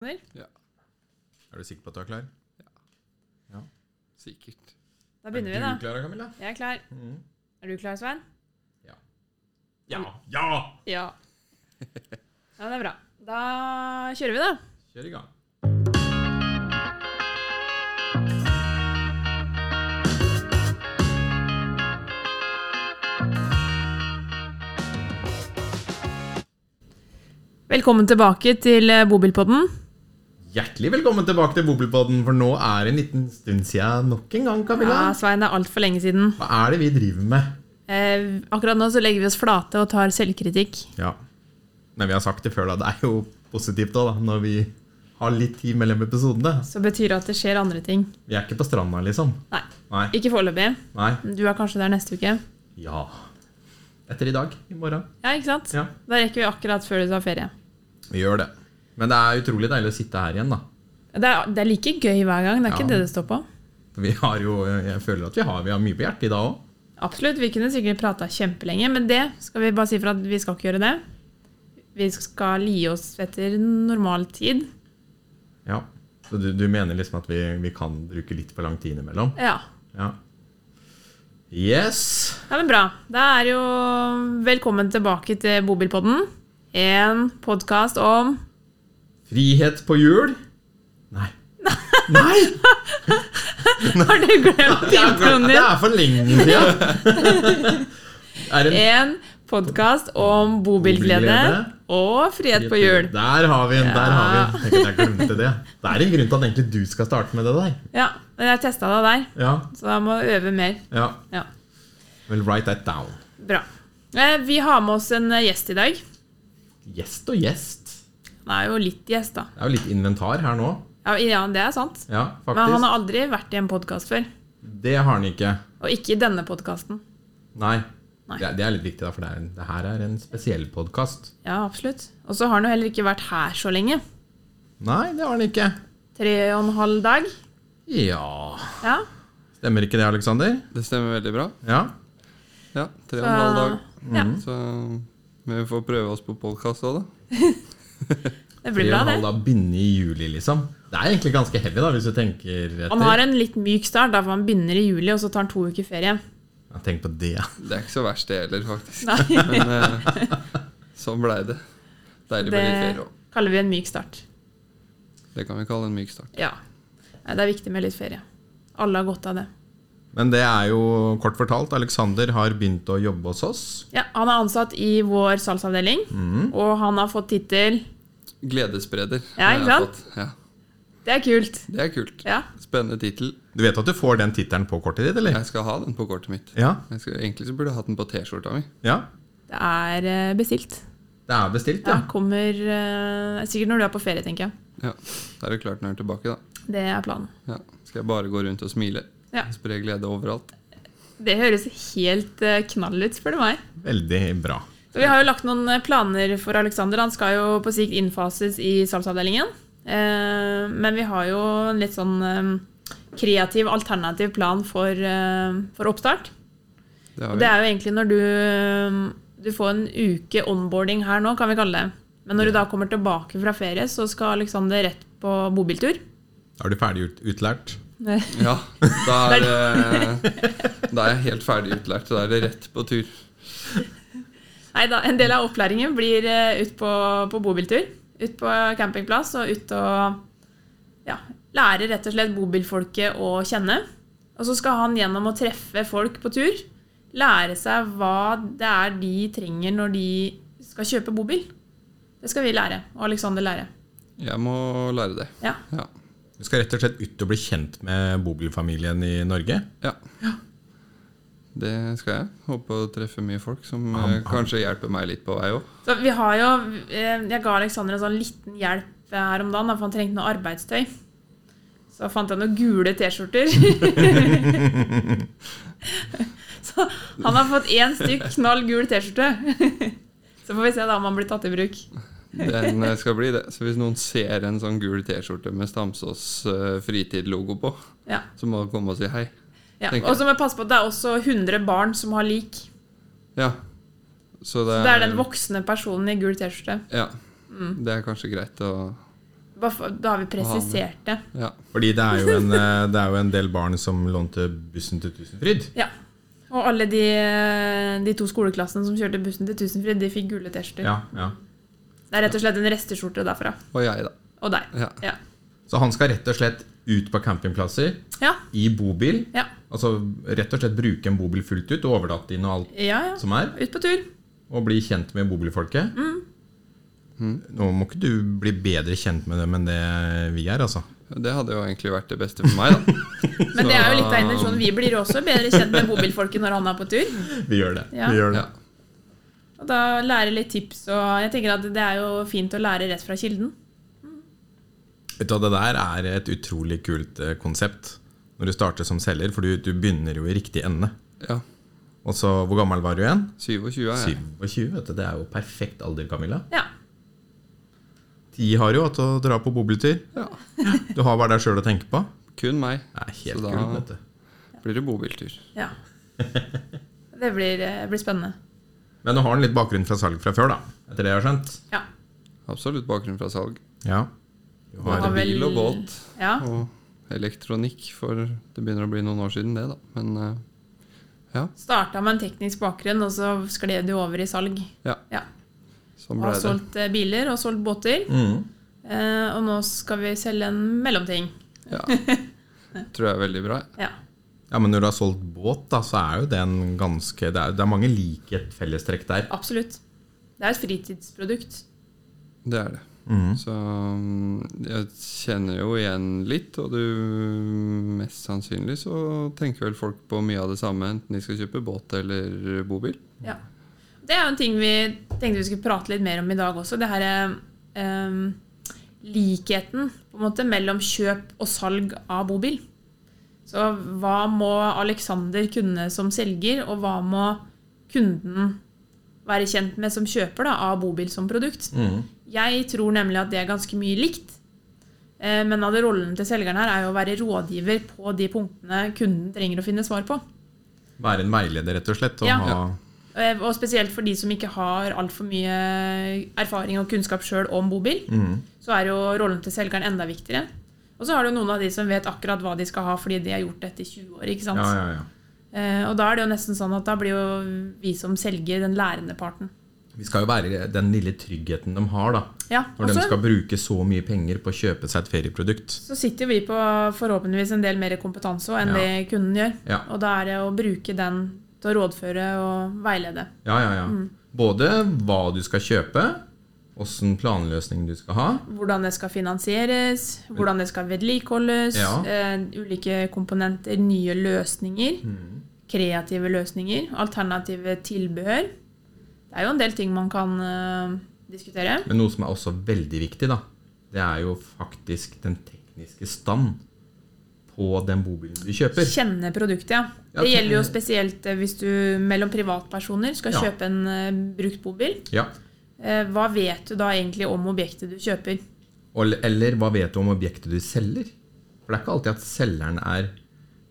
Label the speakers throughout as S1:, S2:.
S1: Vel?
S2: Er du sikker på at du er klar?
S3: Sikkert.
S1: Da begynner vi,
S2: er du
S1: da. Mm.
S2: klar, Camilla?
S1: Jeg er klar.
S2: Mhm.
S1: Er du klar, Svein?
S2: Ja! Ja!
S1: Ja. Ja, men Det er bra. Da kjører vi, da.
S2: Kjør i gang.
S1: Velkommen tilbake til eh, Bobilpodden.
S2: Hjertelig velkommen tilbake til Bobilpodden, for nå er det en liten stund siden nok en gang, Camilla.
S1: Ja, Svein, det er altfor lenge siden.
S2: Hva er det vi driver med?
S1: Eh, akkurat nå så legger vi oss flate og tar selvkritikk.
S2: Ja. Nei, vi har sagt det før, da. Det er jo positivt òg, da, når vi har litt tid mellom episodene.
S1: Så betyr det at det skjer andre ting.
S2: Vi er ikke på stranda, liksom.
S1: Nei,
S2: Nei.
S1: ikke foreløpig.
S2: Nei.
S1: Du er kanskje der neste uke.
S2: Ja. Etter i dag. I morgen.
S1: Ja, ikke sant?
S2: Ja.
S1: Da rekker vi akkurat før du tar ferie.
S2: Vi gjør det. Men det er utrolig deilig å sitte her igjen, da.
S1: Det er, det er like gøy hver gang. Det er
S2: Ja.
S1: ikke det det står på.
S2: For Vi har jo, jeg føler at vi har, vi har mye på hjertet i dag òg.
S1: Absolutt. Vi kunne sikkert prata kjempelenge, men det skal vi bare si for at vi skal ikke gjøre det. Vi skal li oss etter normal tid.
S2: Ja. Så du, du mener liksom at vi, vi kan bruke litt for lang tid innimellom?
S1: Ja.
S2: Ja. Yes.
S1: Ja, men bra. Da er jo velkommen tilbake til Bobilpodden. En podkast om
S2: Frihet på hjul. Nei. Nei!
S1: Har du glemt
S2: Det er,
S1: introen
S2: det
S1: din?
S2: er for lenge siden. er det
S1: En podkast om bobilglede
S2: Bobilglede.
S1: og frihet på hjul.
S2: Der har vi en! der har vi en. Tenk at jeg glemte det. Det er en grunn til at egentlig du skal starte med det der.
S1: Ja, men jeg testa det der,
S2: Ja,
S1: så da må jeg øve mer.
S2: ja.
S1: Ja,
S2: Well, write that down.
S1: Bra. Eh, Vi har med oss en eh, gjest i dag.
S2: Gjest og gjest.
S1: Han er jo litt gjest, da.
S2: Det er jo litt inventar her nå.
S1: Ja, ja det er sant.
S2: Ja,
S1: Men han
S2: faktisk.
S1: har aldri vært i en podkast før.
S2: Det har han ikke.
S1: Og ikke i denne podkasten.
S2: Nei.
S1: Nei.
S2: Det, det er litt viktig, da, for det, er en, det her er en spesiell podkast.
S1: Ja, absolutt. Og så har han jo heller ikke vært her så lenge.
S2: Nei, det har han ikke.
S1: Tre og en halv dag.
S2: Ja
S1: Ja.
S2: Stemmer ikke det, Aleksander?
S3: Det stemmer veldig bra.
S2: Ja.
S3: Ja, tre og en halv
S1: Så,
S3: dag. Mm.
S1: ja,
S3: Så men vi får prøve oss på podkast òg, da.
S1: det
S2: Tre
S1: blir
S2: og
S1: bra,
S2: en
S1: det.
S2: halv da begynner i juli, liksom. Det er egentlig ganske heavy, da, hvis du tenker etter.
S1: Han har en litt myk start, da, for han begynner i juli, og så tar han to uker ferie.
S2: Ja, tenk på det.
S3: Det er ikke så verst, det heller, faktisk.
S1: Nei,
S3: Men eh, sånn blei det. Deilig med litt ferie
S1: det
S3: òg.
S1: kaller vi en myk start.
S3: Det kan vi kalle en myk start.
S1: Ja. Nei, Det er viktig med litt ferie. Alle har godt av det.
S2: Men det er jo kort fortalt. Alexander har begynt å jobbe hos oss.
S1: Ja, Han er ansatt i vår salgsavdeling, og han har fått tittel
S3: Gledesspreder.
S1: Ja,
S3: har jeg
S1: ikke sant?
S3: fått. Ja,
S1: Det er kult.
S3: det er kult.
S1: Ja.
S3: Spennende tittel.
S2: Du vet at du får den tittelen på kortet ditt, eller?
S3: Jeg skal ha den på kortet mitt.
S2: Ja.
S3: Jeg skal, egentlig så burde jeg hatt den på T-skjorta mi.
S2: ja.
S1: Det er eh, bestilt.
S2: Det er bestilt,
S1: Ja,
S2: ja.
S1: kommer eh, Sikkert når du er på ferie, tenker jeg.
S3: Ja, Da er det klart når jeg er tilbake, da.
S1: Det er planen.
S3: Ja, skal jeg bare gå rundt og smile.
S1: Ja.
S3: Spre glede overalt.
S1: Det høres helt eh, knall ut, spør du meg.
S2: Veldig bra.
S1: Så Vi har jo lagt noen eh, planer for Alexander. Han skal jo på sikt innfases i salgsavdelingen. Eh, Men vi har jo en litt sånn eh, kreativ, alternativ plan for, eh, for oppstart.
S3: Det
S1: Og
S3: har vi.
S1: det er jo egentlig når du eh, Du får en uke onboarding her nå, kan vi kalle det. Men når du da kommer tilbake fra ferie, så skal Alexander rett på bobiltur.
S2: Da er du ferdig ut utlært.
S3: Ja, da er, eh, da er jeg helt ferdig utlært. Da er det rett på tur.
S1: Nei da, en del av opplæringen blir eh, ut på, på bobiltur. Ut på campingplass og ut og ja, lære rett og slett bobilfolket å kjenne. Og så skal han gjennom å treffe folk på tur lære seg hva det er de trenger når de skal kjøpe bobil. Det skal vi lære, og Alexander lære.
S3: Jeg må lære det.
S1: Ja,
S3: Ja.
S2: Du skal rett og slett ut og bli kjent med bobilfamilien i Norge.
S3: ja. Det skal jeg. Håper å treffe mye folk som eh, kanskje hjelper meg litt på vei òg.
S1: Så vi har jo eh, Jeg ga Alexander en sånn liten hjelp her om dagen, da, for han trengte noe arbeidstøy. Så fant jeg noen gule T-skjorter. så han har fått én stykk knall gul T-skjorte. så får vi se da om han blir tatt i bruk.
S3: Den eh, skal bli det. Så hvis noen ser en sånn gul T-skjorte med Stamsås eh, fritid-logo på,
S1: Ja.
S3: så må du komme og si hei.
S1: ja.
S3: Tenker jeg.
S1: Og så må jeg passe på at det er også 100 barn som har lik.
S3: Ja. Så det
S1: Det er den voksne personen i gul T-skjorte.
S3: Mm. Ja. Det er kanskje greit å
S1: Bare for- Da har vi presisert det.
S3: Ja.
S2: Fordi det er, jo en, eh, det er jo en del barn som lånte bussen til Tusenfryd.
S1: Ja. Og alle de, de to skoleklassene som kjørte bussen til Tusenfryd, de fikk gule T-skjorter.
S2: Ja, ja.
S1: Det er rett og slett en resteskjorte derfra.
S3: Og jeg, da.
S1: Og deg.
S3: Ja.
S1: Ja.
S2: Så han skal rett og slett ut på campingplasser
S1: Ja.
S2: i bobil.
S1: Ja.
S2: Altså rett og slett bruke en bobil fullt ut, overnatte inn og alt
S1: ja, ja.
S2: som er.
S1: Ut på tur.
S2: Og bli kjent med bobilfolket. Nå må ikke du bli bedre kjent med dem enn det vi er, altså.
S3: Det hadde jo egentlig vært det beste for meg, da.
S1: Men det er jo litt av intensjonen. Vi blir også bedre kjent med bobilfolket når han er på tur.
S2: Vi gjør det.
S1: Ja.
S2: Vi gjør det.
S3: Ja.
S1: Og da lære litt tips. Og jeg tenker at det er jo fint å lære rett fra kilden.
S2: Vet du hva, Det der er et utrolig kult eh, konsept når du starter som selger, for du, du begynner jo i riktig ende.
S3: ja.
S2: Og så, Hvor gammel var du igjen?
S3: 27 er jeg.
S2: 27. vet du, Det er jo perfekt alder, Camilla.
S1: Ja.
S2: De har jo hatt å dra på bobiltur.
S3: Ja.
S2: Du har bare deg sjøl å tenke på.
S3: Kun meg.
S2: Det er helt
S3: Så da-
S2: kult, vet du.
S3: Blir det bobiltur.
S1: ja. Det blir, eh, blir spennende.
S2: Men du har en litt bakgrunn fra salg fra før, da. Etter det jeg har skjønt.
S1: Ja.
S3: Absolutt bakgrunn fra salg.
S2: Ja. Du
S1: Du
S2: har,
S1: har vel-
S3: Bil og båt
S1: ja.
S3: og elektronikk, for det begynner å bli noen år siden det, da. Men eh, ja.
S1: Starta med en teknisk bakgrunn, og så skled det jo over i salg.
S3: Ja.
S1: Ja.
S3: Sånn
S1: Og har
S3: ble det.
S1: solgt eh, biler og solgt båter.
S2: mm.
S1: Eh, og nå skal vi selge en mellomting.
S3: Ja. Tror jeg er veldig bra. jeg.
S1: Ja.
S2: ja, men når du har solgt båt, da, så er jo det en ganske Det er, det er mange likhet, fellestrekk der.
S1: Absolutt. Det er et fritidsprodukt.
S3: Det er det. Så mm, jeg kjenner jo igjen litt, og du Mest sannsynlig så tenker vel folk på mye av det samme, enten de skal kjøpe båt eller bobil.
S1: Ja. Det er jo en ting vi tenkte vi skulle prate litt mer om i dag også. Det her er ehm, likheten på en måte, mellom kjøp og salg av bobil. Så hva må Alexander kunne som selger, og hva må kunden være kjent med som kjøper da, av bobil som produkt?
S2: Mm.
S1: Jeg tror nemlig at det er ganske mye likt. Eh, Men av det rollen til selgeren her er jo å være rådgiver på de punktene kunden trenger å finne svar på.
S2: Være en veileder, rett og slett. Og
S1: Ja.
S2: ha,
S1: Eh, Og spesielt for de som ikke har altfor mye erfaring og kunnskap sjøl om bobil,
S2: Mhm.
S1: så er jo rollen til selgeren enda viktigere. Og så har du noen av de som vet akkurat hva de skal ha fordi de har gjort dette i 20 år. ikke sant?
S2: ja, ja, ja.
S1: Eh, Og da er det jo nesten sånn at da blir jo vi som selger den lærende parten.
S2: Vi skal jo være den lille tryggheten de har, da.
S1: Ja,
S2: Når
S1: og
S2: de
S1: så-
S2: skal bruke så mye penger på å kjøpe seg et ferieprodukt.
S1: så sitter jo vi på forhåpentligvis en del mer kompetanse også enn
S2: Ja.
S1: det kunden gjør.
S2: Ja.
S1: Og da er det å bruke den til å rådføre og veilede.
S2: Ja, ja, ja.
S1: Mm.
S2: Både hva du skal kjøpe, åssen planløsning du skal ha.
S1: Hvordan det skal finansieres, hvordan det skal vedlikeholdes,
S2: Ja.
S1: eh, ulike komponenter, nye løsninger,
S2: Mm.
S1: kreative løsninger, alternative tilbehør. Det er jo en del ting man kan eh, diskutere.
S2: Men noe som er også veldig viktig, da, det er jo faktisk den tekniske stand på den bobilen du kjøper.
S1: Kjenne produktet, ja.
S2: Ja,
S1: Det
S2: så-
S1: gjelder jo spesielt eh, hvis du mellom privatpersoner skal
S2: Ja.
S1: kjøpe en eh, brukt bobil.
S2: Ja.
S1: Eh, Hva vet du da egentlig om objektet du kjøper?
S2: Og- Eller hva vet du om objektet du selger? For det er ikke alltid at selgeren er
S1: Nei,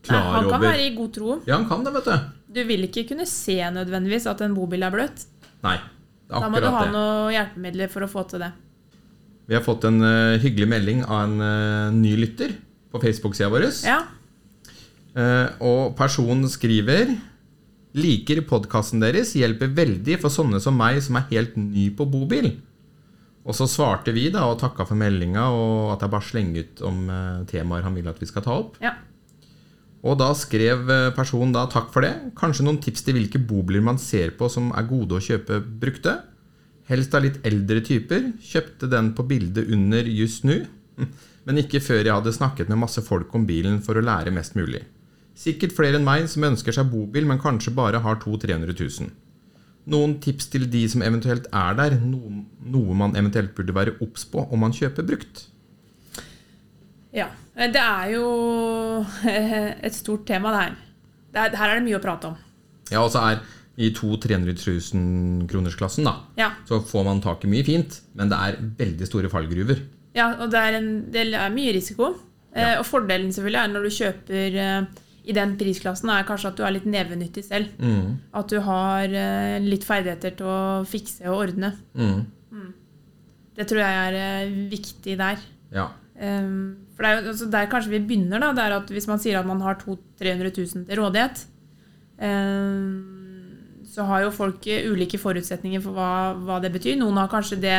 S2: klar
S1: han kan
S2: over
S1: være i god tro.
S2: Ja, han kan det, vet du.
S1: Du vil ikke kunne se nødvendigvis at en bobil er bløt.
S2: Nei. Det er
S1: Da må du ha
S2: akkurat det.
S1: noen hjelpemidler for å få til det.
S2: Vi har fått en eh, hyggelig melding av en eh, ny lytter på Facebook-sida vår.
S1: Ja,
S2: Eh, og personen skriver Liker podkasten deres, hjelper veldig for sånne som meg som er helt ny på bobil. Og så svarte vi da og takka for meldinga og at jeg bare slenger ut om eh, temaer han vil at vi skal ta opp.
S1: ja.
S2: Og da skrev eh, personen da takk for det. Kanskje noen tips til hvilke bobiler man ser på som er gode å kjøpe brukte. Helst av litt eldre typer. Kjøpte den på bildet under just nå, men ikke før jeg hadde snakket med masse folk om bilen for å lære mest mulig. Sikkert flere enn meg som ønsker seg bobil, men kanskje bare har 200 000-300 000. Noen tips til de som eventuelt er der, noe, noe man eventuelt burde være obs på om man kjøper brukt.
S1: ja. Eh, Det er jo eh, et stort tema, det her. Det er, her er det mye å prate om.
S2: Ja, og så er i 200 000-300 000-kronersklassen, da.
S1: Ja,
S2: så får man tak i mye fint, men det er veldig store fallgruver.
S1: ja og det er, en, det er mye risiko. Eh, Og fordelen selvfølgelig er når du kjøper eh, i den prisklassen, er kanskje at du er litt nevenyttig selv. At du har eh, litt ferdigheter til Mm. å fikse og ordne. Det tror jeg er eh, viktig der.
S2: Ja.
S1: Ehm, for det er jo, altså Der kanskje vi begynner, da. Det er at hvis man sier at man har 200 300 000 til rådighet, ehm, så har jo folk eh, ulike forutsetninger for hva, hva det betyr. Noen har kanskje det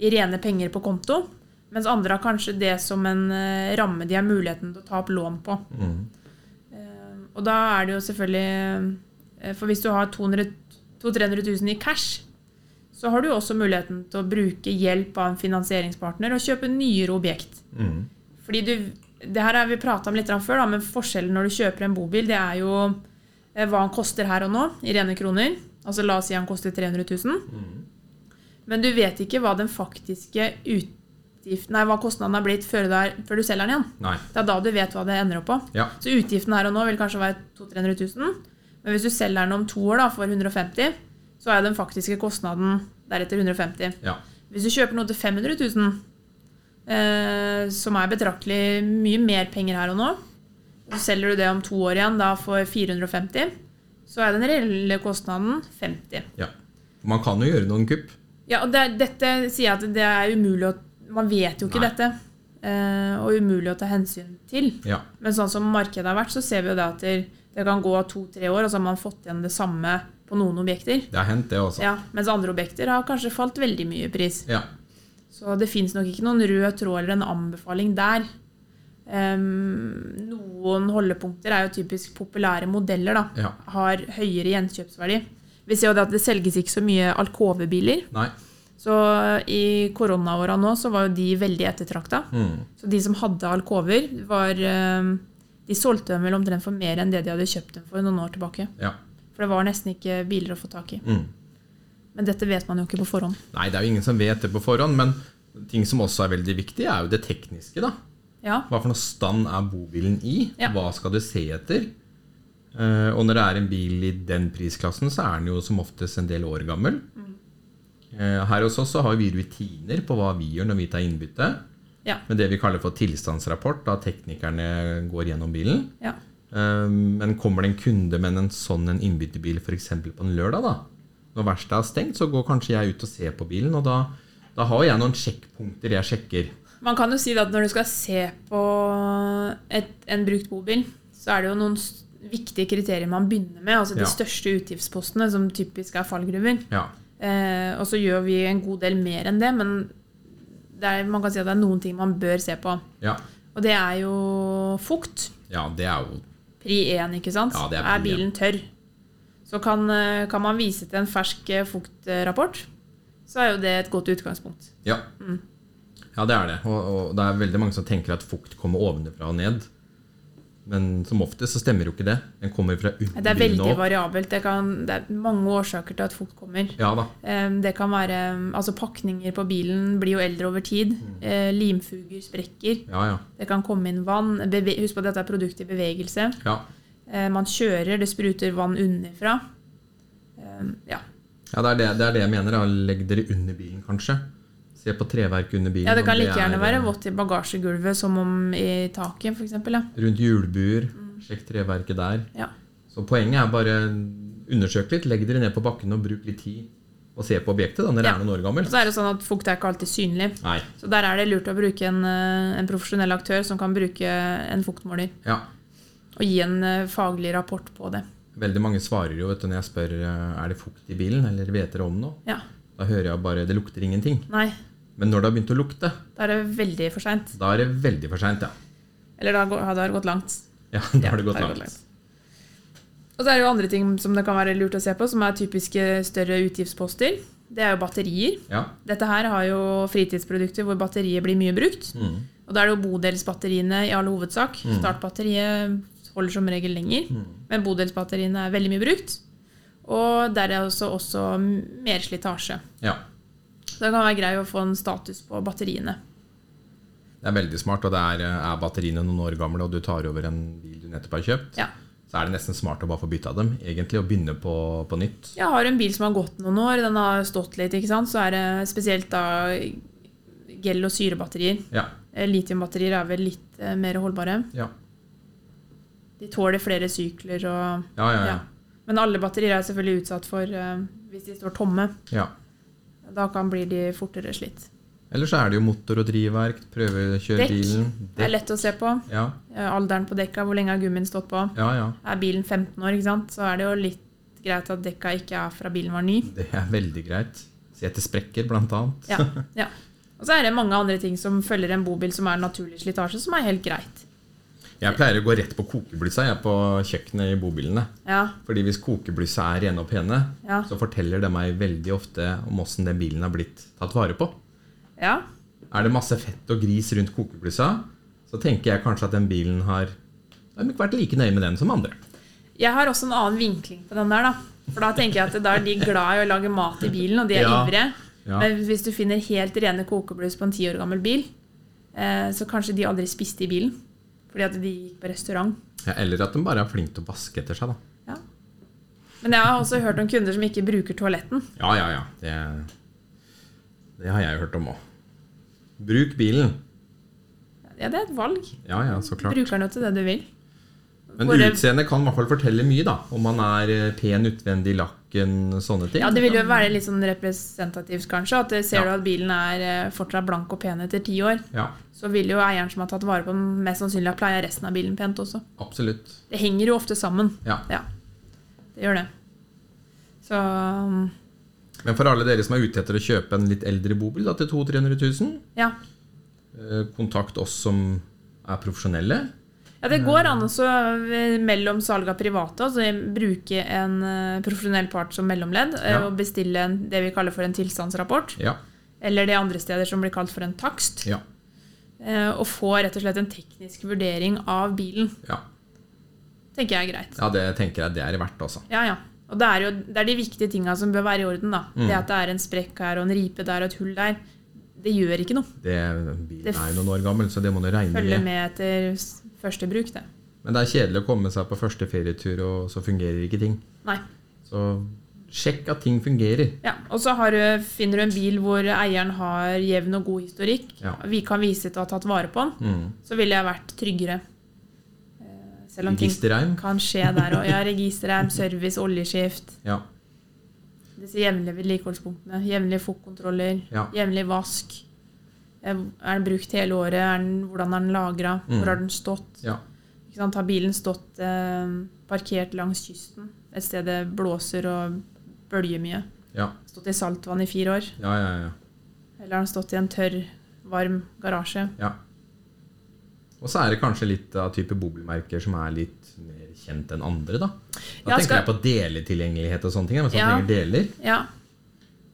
S1: i rene penger på konto, mens andre har kanskje det som en eh, ramme de har muligheten til å ta opp lån på. Ehm, og da er det jo selvfølgelig eh, For hvis du har 200 200-300 000 i cash, så har du jo også muligheten til å bruke hjelp av en finansieringspartner og kjøpe nyere objekt.
S2: Mhm.
S1: Fordi du, det her har vi prata om litt grann før, da, men forskjellen når du kjøper en bobil, det er jo eh, hva han koster her og nå, i rene kroner. Altså La oss si han koster 300 000. Men du vet ikke hva den faktiske utgiften Nei, hva kostnaden har blitt før du, er, før du selger den igjen.
S2: Nei.
S1: Det er da du vet hva det ender opp på.
S2: Ja.
S1: Så utgiften her og nå vil kanskje være 200 000-300 000. Men hvis du selger den om to år da, for 150 så er den faktiske kostnaden deretter 150
S2: Ja.
S1: Hvis du kjøper noe til 500 000, eh, som er betraktelig mye mer penger her og nå, og så selger du det om to år igjen da for 450 så er den reelle kostnaden 50
S2: ja. Man kan jo gjøre noen kupp.
S1: ja, og det, er- dette sier jeg at det er umulig å Man vet jo ikke
S2: Nei.
S1: dette. eh, og umulig å ta hensyn til.
S2: Ja.
S1: Men sånn som markedet har vært, så ser vi jo det at det det kan gå to-tre år, og så har man fått igjen det samme på noen objekter.
S2: Det har hendt, det også.
S1: Ja, mens andre objekter har kanskje falt veldig mye i pris.
S2: Ja.
S1: Så det fins nok ikke noen rød tråd eller en anbefaling der. Ehm, noen holdepunkter er jo typisk populære modeller, da.
S2: Ja.
S1: Har høyere gjenkjøpsverdi. Vi ser jo det at det selges ikke så mye alkovebiler.
S2: Nei.
S1: Så i koronaåra nå så var jo de veldig ettertrakta.
S2: Mhm.
S1: Så de som hadde alkover, var eh, De solgte dem vel omtrent for mer enn det de hadde kjøpt dem for noen år tilbake.
S2: Ja.
S1: For det var nesten ikke biler å få tak i.
S2: Mhm.
S1: Men dette vet man jo ikke på forhånd.
S2: Nei, det er jo ingen som vet det på forhånd, men ting som også er veldig viktig, er jo det tekniske, da.
S1: Ja,
S2: Hva for noe stand er bobilen i?
S1: Ja.
S2: Hva skal du se etter? Eh, og når det er en bil i den prisklassen, så er den jo som oftest en del år gammel.
S1: Mm.
S2: Eh, her hos oss så har vi rutiner på hva vi gjør når vi tar innbytte.
S1: ja,
S2: Med det vi kaller for tilstandsrapport, da teknikerne går gjennom bilen.
S1: ja.
S2: Eh, Men kommer det en kunde med en sånn en innbytterbil f.eks. på en lørdag, da, når verkstedet er stengt, så går kanskje jeg ut og ser på bilen, og da, da har jeg noen sjekkpunkter jeg sjekker.
S1: Man kan jo si det at når du skal se på et, en brukt bobil, så er det jo noen s- viktige kriterier man begynner med. Altså
S2: Ja.
S1: de største utgiftspostene, som typisk er fallgruver.
S2: Ja.
S1: Eh, og så gjør vi en god del mer enn det, men det er, man kan si at det er noen ting man bør se på.
S2: Ja,
S1: Og det er jo fukt.
S2: ja det er jo
S1: Pri 1, ikke sant?
S2: Ja, det er
S1: er,
S2: pri én.
S1: bilen tørr? Så kan, eh, kan man vise til en fersk eh, fuktrapport, så er jo det et godt utgangspunkt.
S2: Ja.
S1: Mm.
S2: ja, det er det. Og, og det er veldig mange som tenker at fukt kommer ovenfra og ned. Men som oftest så stemmer jo ikke det. Den kommer fra under
S1: Det er
S2: bilen
S1: veldig
S2: og opp.
S1: variabelt. Det, kan, det er mange årsaker til at fukt kommer.
S2: Ja da.
S1: Eh, Det kan være eh, altså Pakninger på bilen blir jo eldre over tid. Eh, Limfuger sprekker.
S2: Ja, ja.
S1: Det kan komme inn vann. Beve Husk på at dette er produkt i bevegelse.
S2: Ja,
S1: Eh, Man kjører, det spruter vann underfra. Eh, Ja.
S2: ja det, er det, det er det jeg mener. Da. Legg dere under bilen, kanskje. Se på treverket under bilen.
S1: Ja, det
S2: om
S1: kan like
S2: er,
S1: gjerne
S2: eh,
S1: være vått i bagasjegulvet som om i taket, f.eks. Ja.
S2: Rundt hjulbuer. Sjekk treverket der.
S1: Ja.
S2: Så poenget er bare undersøk litt. Legg dere ned på bakken og bruk litt tid og se på objektet da, når det
S1: Ja.
S2: er noen år
S1: Og
S2: gammelt.
S1: så er det sånn at fukt er ikke alltid synlig.
S2: Nei.
S1: Så der er det lurt å bruke en, eh, en profesjonell aktør som kan bruke en fuktmåler
S2: Ja.
S1: og gi en eh, faglig rapport på det.
S2: Veldig mange svarer jo vet du, når jeg spør eh, er det fukt i bilen, eller vet dere om noe.
S1: Ja.
S2: Da hører jeg bare det lukter ingenting.
S1: Nei,
S2: Men når det har begynt å lukte,
S1: da er det veldig for seint.
S2: da er det veldig for seint, ja.
S1: Eller da går- da har det gått langt.
S2: ja. Da
S1: Ja,
S2: har det gått
S1: da har det gått
S2: langt.
S1: Og så er det jo andre ting som det kan være lurt å se på, som er typiske større utgiftsposter. Det er jo batterier.
S2: Ja.
S1: Dette her har jo fritidsprodukter hvor batteriet blir mye brukt.
S2: Mm.
S1: Og da er det jo bodelsbatteriene i all hovedsak. Startbatteriet holder som regel lenger,
S2: Mm.
S1: men bodelsbatteriene er veldig mye brukt. Og der er også, også mer slitasje.
S2: ja.
S1: Så det kan være grei å få en status på batteriene.
S2: Det er veldig smart, og det er, eh, er batteriene noen år gamle, og du tar over en bil du nettopp har kjøpt,
S1: Ja.
S2: så er det nesten smart å bare få bytta dem, egentlig, og begynne på, på nytt.
S1: Jeg har en bil som har gått noen år, den har stått litt, ikke sant? så er det spesielt da gel- og syrebatterier.
S2: Ja.
S1: Eh, Litiumbatterier er vel litt eh, mer holdbare.
S2: Ja.
S1: De tåler flere sykler og
S2: Ja, ja, ja.
S1: Ja. Men alle batterier er selvfølgelig utsatt for eh, hvis de står tomme.
S2: ja.
S1: Da kan blir de fortere slitt.
S2: Eller så er det jo motor og drivverk, prøvekjøre
S1: Dekk.
S2: bilen
S1: Det er lett å se på.
S2: Ja,
S1: Eh, Alderen på dekka, hvor lenge har gummien stått på?
S2: ja, ja.
S1: Er bilen 15 år, ikke sant? så er det jo litt greit at dekka ikke er fra bilen var ny.
S2: Det er veldig greit. Se etter sprekker, blant annet.
S1: Ja, ja. Og så er det mange andre ting som følger en bobil som er naturlig slitasje, som er helt greit.
S2: Jeg pleier å gå rett på kokeblyssa jeg på kjøkkenet i bobilene.
S1: Ja,
S2: Fordi hvis kokeblyssa er rene og pene,
S1: Ja.
S2: så forteller det meg veldig ofte om åssen den bilen har blitt tatt vare på.
S1: ja,
S2: Er det masse fett og gris rundt kokeblyssa, så tenker jeg kanskje at den bilen har De har ikke vært like nøye med den som andre.
S1: Jeg har også en annen vinkling på den der, da. For da tenker jeg at da er de glad i å lage mat i bilen, og de er
S2: Ja.
S1: ivrige.
S2: Ja.
S1: Men hvis du finner helt rene kokebluss på en ti år gammel bil, eh, så kanskje de aldri spiste i bilen. Fordi at de gikk på restaurant.
S2: Ja, eller at de bare er flink til å vaske etter seg, da.
S1: Ja. Men jeg har også hørt om kunder som ikke bruker toaletten.
S2: Ja, ja, ja. Det, det har jeg hørt om òg. Bruk bilen.
S1: Ja, det er et valg.
S2: Ja, ja, så klart.
S1: Bruker den jo til det du vil.
S2: Men
S1: Bare-
S2: utseendet kan i hvert fall fortelle mye, da. Om man er eh, pen utvendig, lakken, sånne ting.
S1: Ja, Det vil jo være litt sånn representativt, kanskje. At eh, Ser
S2: Ja.
S1: du at bilen er eh, fortsatt blank og pen etter ti år,
S2: Ja,
S1: så vil jo eieren som har tatt vare på den, mest sannsynlig ha pleia resten av bilen pent også.
S2: absolutt.
S1: Det henger jo ofte sammen.
S2: Ja.
S1: Ja, det gjør det. Så um,
S2: Men for alle dere som er ute etter å kjøpe en litt eldre bobil da, til 200 000-300 000,
S1: ja.
S2: eh, kontakt oss som er profesjonelle.
S1: ja, det går an også eh, mellom salg av private, altså bruke en eh, profesjonell part som mellomledd eh,
S2: Ja.
S1: og bestille en, det vi kaller for en tilstandsrapport,
S2: Ja.
S1: eller det andre steder som blir kalt for en takst,
S2: Ja.
S1: eh, og få rett og slett en teknisk vurdering av bilen,
S2: Ja,
S1: tenker jeg er greit.
S2: ja det tenker jeg det er verdt, altså.
S1: Ja, ja. Og det er jo det er de viktige tinga som bør være i orden, da. Det at det er en sprekk her og en ripe der og et hull der, det gjør ikke noe.
S2: Det, bilen
S1: Det f-
S2: er jo noen år gammel, så det må du regne
S1: Følger
S2: med.
S1: med etter s- første bruk, det.
S2: Men det er kjedelig å komme seg på første ferietur, og så fungerer ikke ting.
S1: Nei.
S2: Så sjekk at ting fungerer.
S1: Ja, og så har du, finner du en bil hvor eieren har jevn og god historikk.
S2: Ja.
S1: Vi kan vise til å ha tatt vare på den.
S2: Mm.
S1: Så ville jeg vært tryggere. Eh, Selv om ting
S2: Registerregn.
S1: kan skje der òg. Ja, registerreim, service, oljeskift.
S2: Ja.
S1: Disse jevnlige vedlikeholdspunktene. Jevnlige fokkontroller.
S2: Ja.
S1: Jevnlig vask. Eh, Er den brukt hele året? Er den, hvordan er den lagra?
S2: Mm.
S1: Hvor har den stått?
S2: ja.
S1: Ikke sant? Har bilen stått eh, parkert langs kysten? Et sted det blåser og bølger mye?
S2: Ja.
S1: Stått i saltvann i fire år?
S2: Ja, ja, ja.
S1: Eller har den stått i en tørr, varm garasje?
S2: ja. Og så er det kanskje litt av type bobilmerker som er litt mer kjent enn andre, da. Da
S1: Ja,
S2: tenker
S1: skal-
S2: jeg på deletilgjengelighet og sånne ting. da, Hvis man
S1: Ja.
S2: trenger deler.
S1: Ja.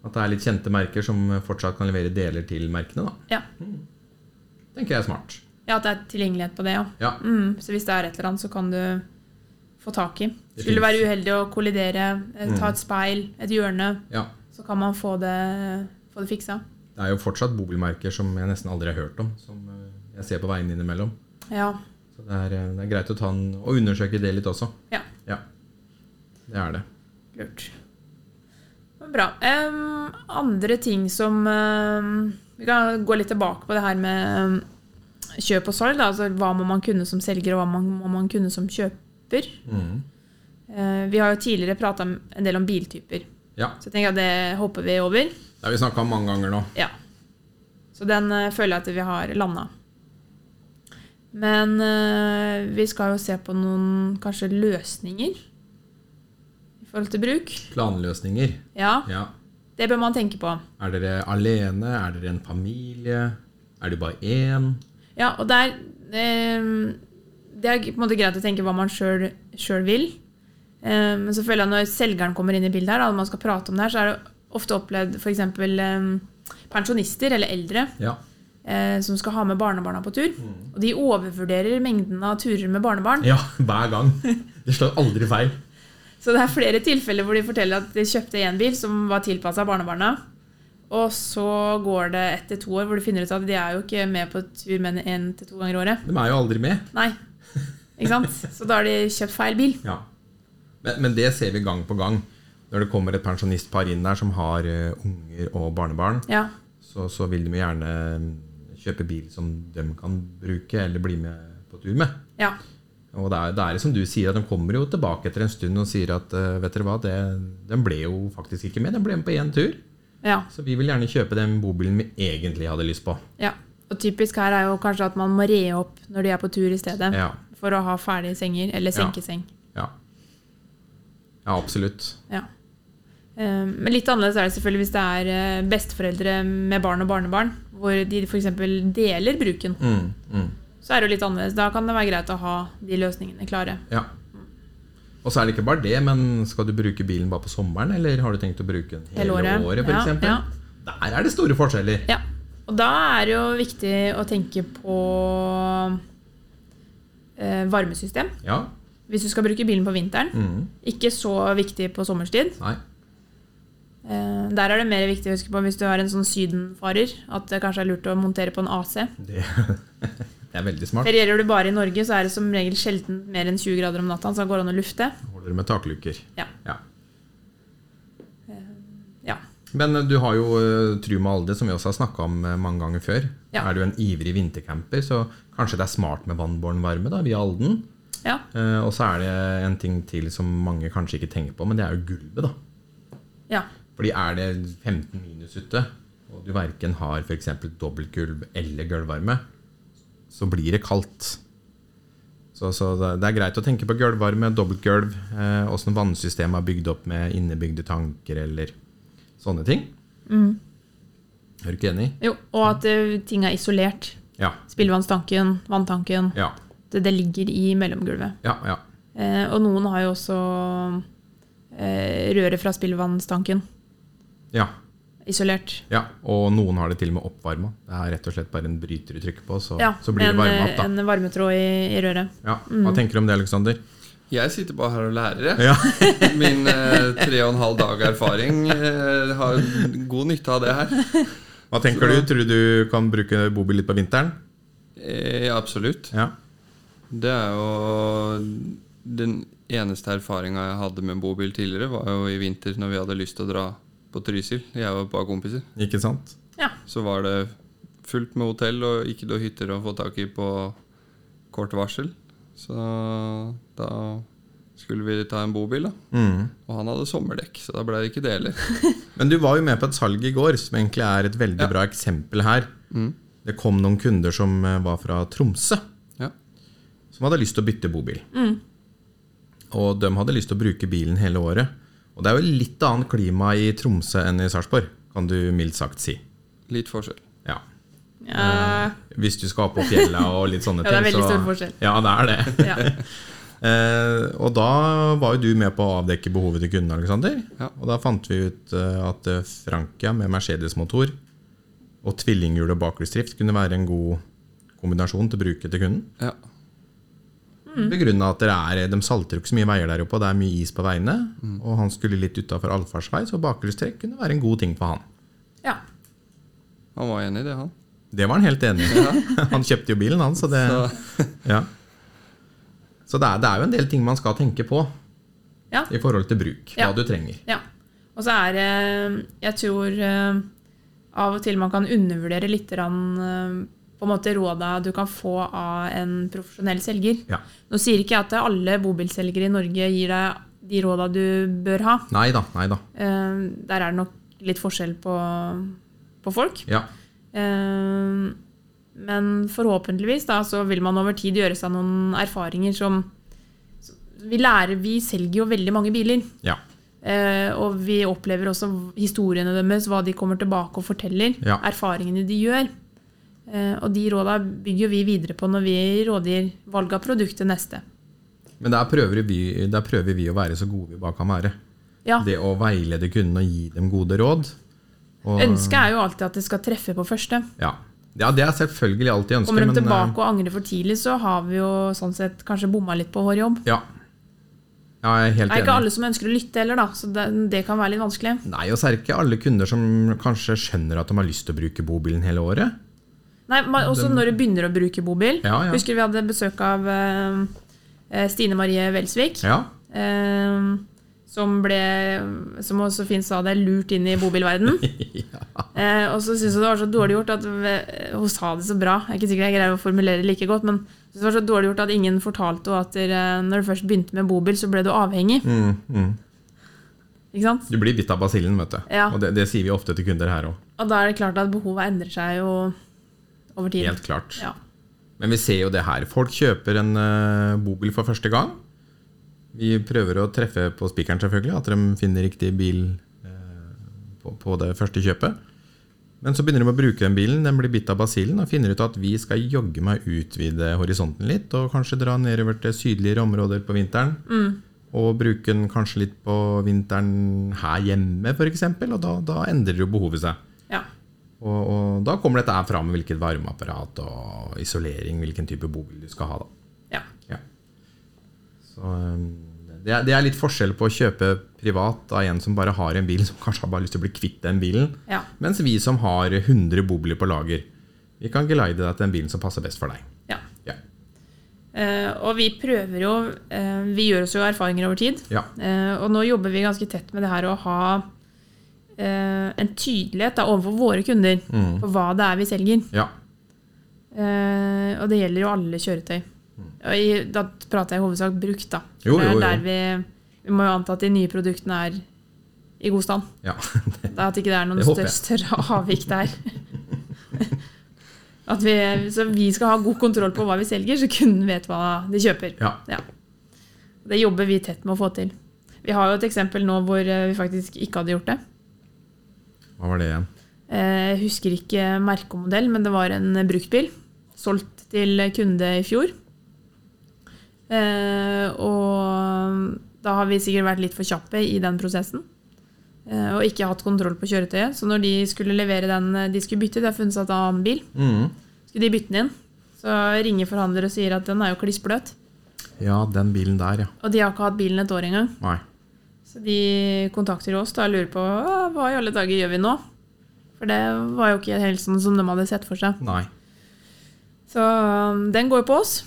S2: At det er litt kjente merker som fortsatt kan levere deler til merkene, da. Mm.
S1: Ja,
S2: Tenker jeg er smart.
S1: ja at det er tilgjengelighet på det, ja.
S2: Ja.
S1: Mm, så hvis det er et eller annet, så kan du få tak i.
S2: Det
S1: Skulle du
S2: finnes. Mm.
S1: være uheldig å kollidere, eh, ta et speil, et hjørne,
S2: ja.
S1: så kan man få det, få det fiksa.
S2: Det er jo fortsatt bobilmerker som jeg nesten aldri har hørt om, som eh, jeg ser på veien innimellom.
S1: Ja.
S2: Så det er, eh, det er greit å ta en, og undersøke det litt også.
S1: ja.
S2: Ja. Det er det.
S1: Lurt. Men Bra. Em, andre ting som em, Vi kan gå litt tilbake på det her med em, kjøp og salg. Da. Altså, hva må man kunne som selger, og hva man, må man kunne som kjøper? Eh, vi har jo tidligere prata en del om biltyper,
S2: Ja.
S1: så jeg tenker at det hopper vi over.
S2: Det har vi snakka om mange ganger nå.
S1: Ja. Så den eh, føler jeg at vi har landa. Men eh, vi skal jo se på noen kanskje løsninger i forhold til bruk.
S2: Planløsninger.
S1: Ja,
S2: Ja.
S1: det bør man tenke på.
S2: Er dere alene? Er dere en familie? Er det bare én?
S1: Ja, og der eh, Det er på en måte greit å tenke hva man sjøl vil. Eh, men så føler jeg når selgeren kommer inn i bildet her, da, og man skal prate om det her, så er det ofte opplevd f.eks. Eh, pensjonister eller eldre
S2: Ja.
S1: eh, som skal ha med barnebarna på tur. Og de overvurderer mengden av turer med barnebarn.
S2: Mm. ja, hver gang. Det slår aldri feil.
S1: Så det er flere tilfeller hvor de forteller at de kjøpte én bil som var tilpassa barnebarna. Og så går det ett til to år hvor du finner ut at de er jo ikke med på tur mer enn én til to ganger i året.
S2: De er jo aldri med.
S1: Nei. Ikke sant? Så da har de kjøpt feil bil.
S2: Ja. Men, men det ser vi gang på gang. Når det kommer et pensjonistpar inn der som har eh, unger og barnebarn,
S1: Ja.
S2: så, så vil de jo gjerne mm, kjøpe bil som de kan bruke eller bli med på tur med.
S1: ja.
S2: Og det er, det er som du sier, at de kommer jo tilbake etter en stund og sier at eh, vet dere hva, det, den ble jo faktisk ikke med. Den ble med på én tur.
S1: Ja,
S2: Så vi vil gjerne kjøpe den bobilen vi egentlig hadde lyst på.
S1: ja. Og typisk her er jo kanskje at man må re opp når de er på tur i stedet.
S2: Ja,
S1: For å ha ferdige senger, eller
S2: Ja.
S1: senkeseng.
S2: ja. ja absolutt.
S1: Ja. Eh, Men litt annerledes er det selvfølgelig hvis det er eh, besteforeldre med barn og barnebarn, hvor de f.eks. deler bruken.
S2: Mm, mm.
S1: Så er det jo litt annerledes. Da kan det være greit å ha de løsningene klare.
S2: Ja. Og så er det ikke bare det, men skal du bruke bilen bare på sommeren, eller har du tenkt å bruke den hele
S1: Hele året.
S2: året, for
S1: Ja,
S2: eksempel?
S1: ja.
S2: Der er det store forskjeller.
S1: Ja. Og da er det jo viktig å tenke på eh, varmesystem.
S2: Ja.
S1: Hvis du skal bruke bilen på vinteren.
S2: Mm.
S1: Ikke så viktig på sommerstid.
S2: Nei.
S1: Eh, der er det mer viktig å huske på hvis du har en sånn sydenfarer, at det kanskje er lurt å montere på en AC.
S2: Det, det er veldig smart.
S1: Ferierer du bare i Norge, så er det som regel sjelden mer enn 20 grader om natta, så det går an å lufte.
S2: Holder med taklukker.
S1: Ja.
S2: Ja.
S1: Ja.
S2: Men eh, du har jo eh, Truma Alde, som vi også har snakka om eh, mange ganger før.
S1: Ja.
S2: Er du en ivrig vintercamper, så kanskje det er smart med vannbåren varme da, via Alden.
S1: ja.
S2: Eh, og så er det en ting til som mange kanskje ikke tenker på, men det er jo gulvet, da.
S1: ja.
S2: Fordi er det 15 minus ute, og du verken har f.eks. dobbeltgulv eller gulvvarme, så blir det kaldt. Så, så det det er greit å tenke på gulvvarme, dobbeltgulv, eh, åssen vannsystemet er bygd opp med innebygde tanker eller sånne ting.
S1: Mm.
S2: Er du ikke enig?
S1: Jo, og at eh, ting er isolert.
S2: Ja.
S1: Spillevannstanken, vanntanken.
S2: Ja.
S1: Det, det ligger i mellomgulvet.
S2: Ja. ja.
S1: Eh, og noen har jo også eh, røret fra spillevannstanken
S2: ja.
S1: isolert.
S2: Ja, Og noen har det til og med oppvarma. Det er rett og slett bare en bryter du trykker på, så,
S1: Ja,
S2: så blir det
S1: en, mm.
S2: varma opp.
S1: eh,
S2: da.
S1: en varmetråd i, i røret.
S2: Ja, Hva tenker du om det, Aleksander?
S3: Jeg sitter bare her og lærer, jeg.
S2: Ja.
S3: Min eh, tre og en halv dag erfaring eh, har god nytte av det her.
S2: Hva tenker du? Tror du du kan bruke bobil litt på vinteren?
S3: Eh, absolutt.
S2: Ja.
S3: Det er jo Den eneste erfaringa jeg hadde med bobil tidligere, var jo i vinter når vi hadde lyst til å dra på Trysil. Jeg og et par kompiser.
S2: Ikke sant?
S1: Ja.
S3: Så var det fullt med hotell og ikke noe hytter å få tak i på kort varsel. Så da skulle vi ta en bobil, da. Og han hadde sommerdekk, så da ble det ikke det heller.
S2: Men du var jo med på et salg i går, som egentlig er et veldig bra eksempel her.
S1: Mm.
S2: Det kom noen kunder som eh, var fra Tromsø,
S3: Ja.
S2: som hadde lyst til å bytte bobil.
S1: Mm.
S2: Og de hadde lyst til å bruke bilen hele året. Og det er jo litt annet klima i Tromsø enn i Sarpsborg, kan du mildt sagt si.
S3: Litt forskjell.
S2: Ja.
S1: Ja.
S2: Hvis du skal opp på fjella og litt sånne
S1: Ja, det er
S2: ting.
S1: veldig
S2: så-
S1: stor forskjell.
S2: Ja, det er det.
S1: ja.
S2: Eh, og da var jo du med på å avdekke behovet til kunden, Alexander.
S3: Ja.
S2: Og da fant vi ut eh, at eh, Frankia med Mercedes-motor og tvillinghjul og bakhjulsdrift kunne være en god kombinasjon til bruket til kunden.
S3: Ja.
S2: Begrunna at det er, de salter jo ikke så mye veier der oppe, og det er mye is på veiene. Og han skulle litt utafor allfartsvei, så bakhjulstrekk kunne være en god ting for han.
S1: ja.
S3: Han var enig i det, han.
S2: Det var han helt enig i. han kjøpte jo bilen, han, så det
S3: Så,
S2: Ja. Så det er, det er jo en del ting man skal tenke på
S1: Ja.
S2: i forhold til bruk. Hva
S1: Ja.
S2: du trenger.
S1: Ja. Og så er det Jeg tror eh, av og til man kan undervurdere litt grann, eh, på en måte råda du kan få av en profesjonell selger.
S2: Ja.
S1: Nå sier ikke jeg at alle bobilselgere i Norge gir deg de råda du bør ha.
S2: Nei da, nei da.
S1: Eh, Der er det nok litt forskjell på, på folk.
S2: Ja.
S1: Eh, Men forhåpentligvis da, så vil man over tid gjøre seg noen erfaringer som vi, lærer, vi selger jo veldig mange biler.
S2: Ja.
S1: Eh, og vi opplever også historiene deres, hva de kommer tilbake og forteller.
S2: Ja.
S1: Erfaringene de gjør. Eh, og de råda bygger jo vi videre på når vi rådgir valg av produkt til neste.
S2: Men der prøver, vi, der prøver vi å være så gode vi bare kan være.
S1: Ja.
S2: Det å veilede kundene og gi dem gode råd. Og,
S1: Ønsket er jo alltid at det skal treffe på første.
S2: ja. ja, det er selvfølgelig alltid ønsket.
S1: Kommer de
S2: men, eh,
S1: tilbake og angrer for tidlig, så har vi jo sånn sett kanskje bomma litt på vår jobb.
S2: eh, Ja. ja, jeg er helt
S1: Det er
S2: enig.
S1: ikke alle som ønsker å lytte heller, da, så det, det kan være litt vanskelig.
S2: Nei, og så er det ikke alle kunder som kanskje skjønner at de har lyst til å bruke bobilen hele året.
S1: Nei, men også når du begynner å bruke bobil.
S2: Ja, ja.
S1: Husker vi hadde besøk av eh, Stine Marie Welsvik.
S2: Ja,
S1: Eh, som ble, som også Finn sa det, lurt inn i bobilverden. eh, og så syns jeg det var så dårlig gjort at eh, Hun sa det så bra. Jeg er ikke sikker jeg greier å formulere det like godt, men jeg synes det var så dårlig gjort at ingen fortalte henne at dere, eh, når du først begynte med bobil, så ble du avhengig. Ikke sant?
S2: Du blir bitt av basillen, vet du.
S1: Ja.
S2: Og det, det sier vi ofte til kunder her òg.
S1: Og da er det klart at behovet endrer seg jo over tid.
S2: Helt klart.
S1: Ja.
S2: Men vi ser jo det her. Folk kjøper en eh, bobil for første gang. Vi prøver å treffe på spikeren, selvfølgelig, at de finner riktig bil eh, på, på det første kjøpet. Men så begynner de å bruke den bilen, den blir bitt av basillen og finner ut at vi skal jogge meg utvide horisonten litt, og kanskje dra nedover til sydligere områder på vinteren. Og bruke den kanskje litt på vinteren her hjemme, f.eks., og da, da endrer jo behovet seg.
S1: ja.
S2: Og, og da kommer dette her fram, hvilket varmeapparat og isolering, hvilken type bobil du skal ha. da.
S1: Ja.
S2: Ja. Så øhm, det er, det er litt forskjell på å kjøpe privat av en som bare har en bil, som kanskje har bare lyst til å bli kvitt den bilen,
S1: Ja.
S2: mens vi som har 100 bobiler på lager, vi kan geleide deg til den bilen som passer best for deg.
S1: ja.
S2: Ja.
S1: Eh, og vi prøver jo eh, Vi gjør oss jo erfaringer over tid.
S2: Ja.
S1: Eh, og nå jobber vi ganske tett med det her å ha eh, en tydelighet da, overfor våre kunder
S2: Mm.
S1: på hva det er vi selger.
S2: ja.
S1: Eh, og det gjelder jo alle kjøretøy. Og i, da prater jeg i hovedsak brukt, da. For
S2: Mm. Jo,
S1: det er
S2: jo, jo.
S1: Der vi, vi må jo anta at de nye produktene er i god stand.
S2: ja.
S1: Da At ikke det er noen
S2: Det håper
S1: større,
S2: jeg.
S1: større avvik der. At vi, så vi skal ha god kontroll på hva vi selger, så kunden vet hva de kjøper.
S2: ja.
S1: Ja. Det jobber vi tett med å få til. Vi har jo et eksempel nå hvor eh, vi faktisk ikke hadde gjort det.
S2: Hva var det igjen?
S1: Eh, Jeg husker ikke merke og modell, men det var en bruktbil. Solgt til kunde i fjor. Eh, og da har vi sikkert vært litt for kjappe i den prosessen. Eh, og ikke hatt kontroll på kjøretøyet. Så når de skulle levere den eh, de skulle bytte, de har funnet seg en annen bil,
S2: Mhm.
S1: skulle de bytte den inn. Så ringer forhandler og sier at den er jo klissbløt.
S2: Ja, den bilen der, ja.
S1: Og de har ikke hatt bilen et år engang.
S2: Nei.
S1: Så de kontakter oss da og lurer på «Å, hva i alle dager gjør vi nå? For det var jo ikke helt sånn som de hadde sett for seg.
S2: Nei.
S1: Så um, den går på oss.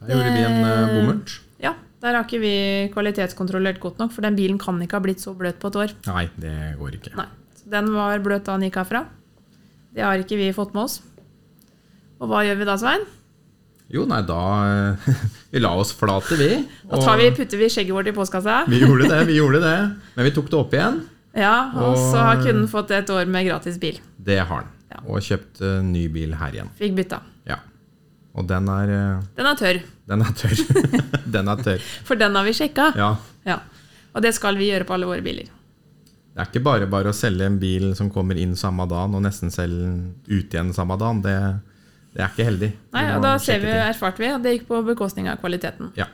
S2: Der gjorde vi en uh, bommert.
S1: Ja, der har ikke vi kvalitetskontrollert godt nok, for den bilen kan ikke ha blitt så bløt på et år.
S2: Nei, det går ikke.
S1: Nei. Så den var bløt da den gikk herfra. Det har ikke vi fått med oss. Og hva gjør vi da, Svein?
S2: Jo, nei, da eh, Vi la oss flate, vi.
S1: Da tar vi, putter vi skjegget vårt i postkassa.
S2: Vi gjorde det, vi gjorde det. Men vi tok det opp igjen.
S1: Ja, og
S2: Og-
S1: så har kunden fått et år med gratis bil.
S2: Det har han.
S1: Ja.
S2: Og kjøpt eh, ny bil her igjen.
S1: Fikk bytta.
S2: Ja. Og den er eh,
S1: Den er tørr,
S2: Den er tørr. den er tørr.
S1: for den har vi sjekka.
S2: Ja.
S1: Ja. Og det skal vi gjøre på alle våre biler.
S2: Det er ikke bare bare å selge en bil som kommer inn samme dagen, og nesten selge den ut igjen samme dagen. Det, det er ikke heldig.
S1: Nei,
S2: Du må
S1: og da ser
S2: sjekke
S1: vi,
S2: ting.
S1: erfarte vi at det gikk på bekostning av kvaliteten.
S2: Ja.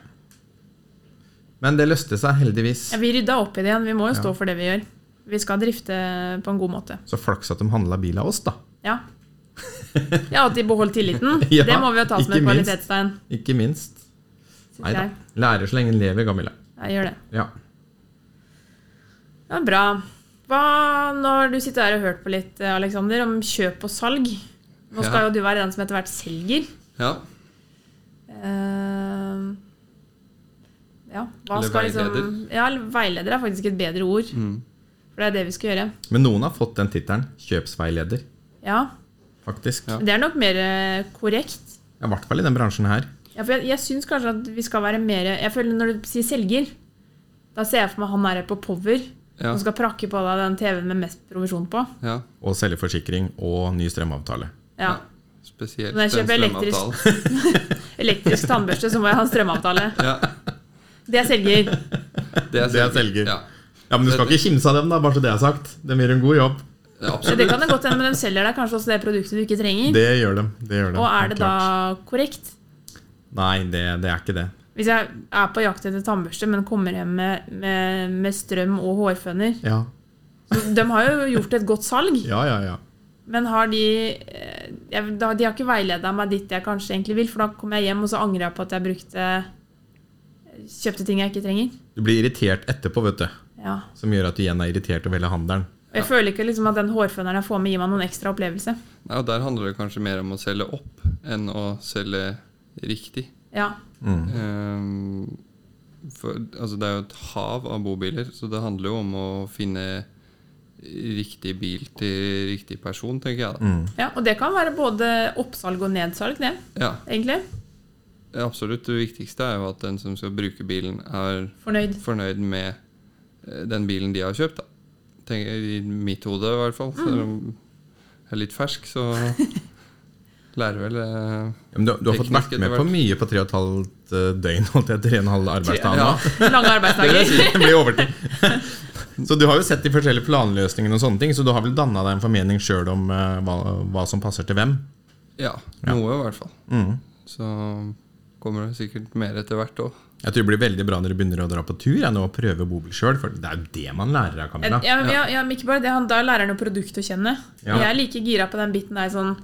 S2: Men det løste seg heldigvis.
S1: Ja, vi rydda opp i det igjen. Vi må jo stå for det vi gjør. Vi skal drifte på en god måte.
S2: Så flaks at de handla bil av oss, da.
S1: Ja. Ja, at de beholdt tilliten.
S2: Ja,
S1: det må vi jo ta som
S2: ikke
S1: en
S2: minst.
S1: kvalitetstegn.
S2: Ikke minst.
S1: synes
S2: Nei da.
S1: Jeg.
S2: Lærer så lenge en lever, Gamilla.
S1: jeg gjør det.
S2: Ja.
S1: Ja, bra. Hva når du sitter her og hørt på litt, eh, Alexander, om kjøp og salg? Nå skal
S3: Ja.
S1: jo du være den som etter hvert selger.
S3: Ja,
S1: Eh, ja, hva
S3: Eller
S1: skal liksom
S3: veileder.
S1: Ja, eller veileder er faktisk et bedre ord.
S3: Mm.
S1: For det er det vi skal gjøre.
S2: Men noen har fått den tittelen, kjøpsveileder,
S1: Ja,
S2: faktisk.
S3: Ja.
S2: Ja.
S1: Det er nok mer eh, korrekt.
S2: I hvert fall i den bransjen her.
S1: Ja, for jeg jeg syns kanskje at vi skal være mer Jeg føler Når du sier selger, da ser jeg for meg han er på Power
S3: ja,
S1: som skal prakke på deg den TV-en med mest provisjon på.
S3: ja.
S2: Og selgeforsikring og ny strømavtale.
S1: Ja.
S3: Spesielt
S1: Når jeg
S3: den
S1: kjøper elektrisk-
S3: strømavtalen.
S1: Elektrisk tannbørste, så må jeg ha en strømavtale.
S3: Ja,
S1: Det er selger.
S3: det
S2: Det
S3: er
S2: er
S3: selger.
S2: selger.
S3: Ja,
S2: Ja, Men du skal ikke kimse av dem, da, bare så det er sagt. De gjør en god jobb.
S3: ja,
S1: Ja, Det
S3: absolutt.
S1: kan det godt hende, men de selger deg kanskje også det produktet du ikke trenger.
S2: Det gjør de. Det gjør de.
S1: Og er
S2: helt
S1: det da
S2: klart.
S1: korrekt?
S2: Nei, det, det er ikke det.
S1: Hvis jeg er på jakt etter tannbørste, men kommer hjem med, med, med strøm og hårføner
S2: Ja,
S1: så De har jo gjort et godt salg.
S2: ja, ja. ja.
S1: Men har de eh, jeg- da- De har ikke veileda meg dit jeg kanskje egentlig vil, for da kommer jeg hjem og så angrer jeg på at jeg brukte eh, kjøpte ting jeg ikke trenger.
S2: Du blir irritert etterpå, vet du.
S1: Ja.
S2: Som gjør at du igjen er irritert over hele handelen.
S1: Og jeg føler ikke liksom at den hårføneren jeg får med, gir meg noen ekstra opplevelse.
S3: Nei, og der handler det kanskje mer om å selge opp enn å selge riktig.
S1: Ja.
S3: Ehm, for, altså det er jo et hav av bobiler, så det handler jo om å finne riktig bil til riktig person, tenker jeg. da.
S2: Mm.
S1: ja. Og det kan være både oppsalg og nedsalg, det,
S3: Ja,
S1: egentlig.
S3: absolutt. Det viktigste er jo at den som skal bruke bilen, er
S1: Fornøyd.
S3: fornøyd med eh, den bilen de har kjøpt, da. Tenker, jeg, I mitt hode, i hvert fall. Selv om
S1: Mm.
S3: jeg er litt fersk, så lærer vel eh,
S2: Men du, du har fått vært
S3: Teknisk
S2: med
S3: etter
S2: på mye på tre og et halvt eh, døgn, holdt jeg til en halv arbeidsdag nå.
S3: Ja.
S1: Lange
S2: Det vil jeg
S1: arbeidsdager.
S2: si, det blir overtid. Så du har jo sett de forskjellige planløsningene og sånne ting, så du har vel danna deg en formening sjøl om eh, hva, hva som passer til hvem?
S3: Ja,
S2: Ja.
S3: noe i hvert fall.
S2: Mm.
S3: Så kommer det sikkert mer etter hvert òg.
S2: Jeg tror det blir veldig bra når du begynner å dra på tur jeg, nå og prøve bobil sjøl, for det er jo det man lærer av
S1: Ja,
S2: Camilla.
S1: ja, men ja, ja, men ikke bare det, han, da lærer han jo produktet å kjenne.
S2: Ja.
S1: Jeg er like gira på den biten der sånn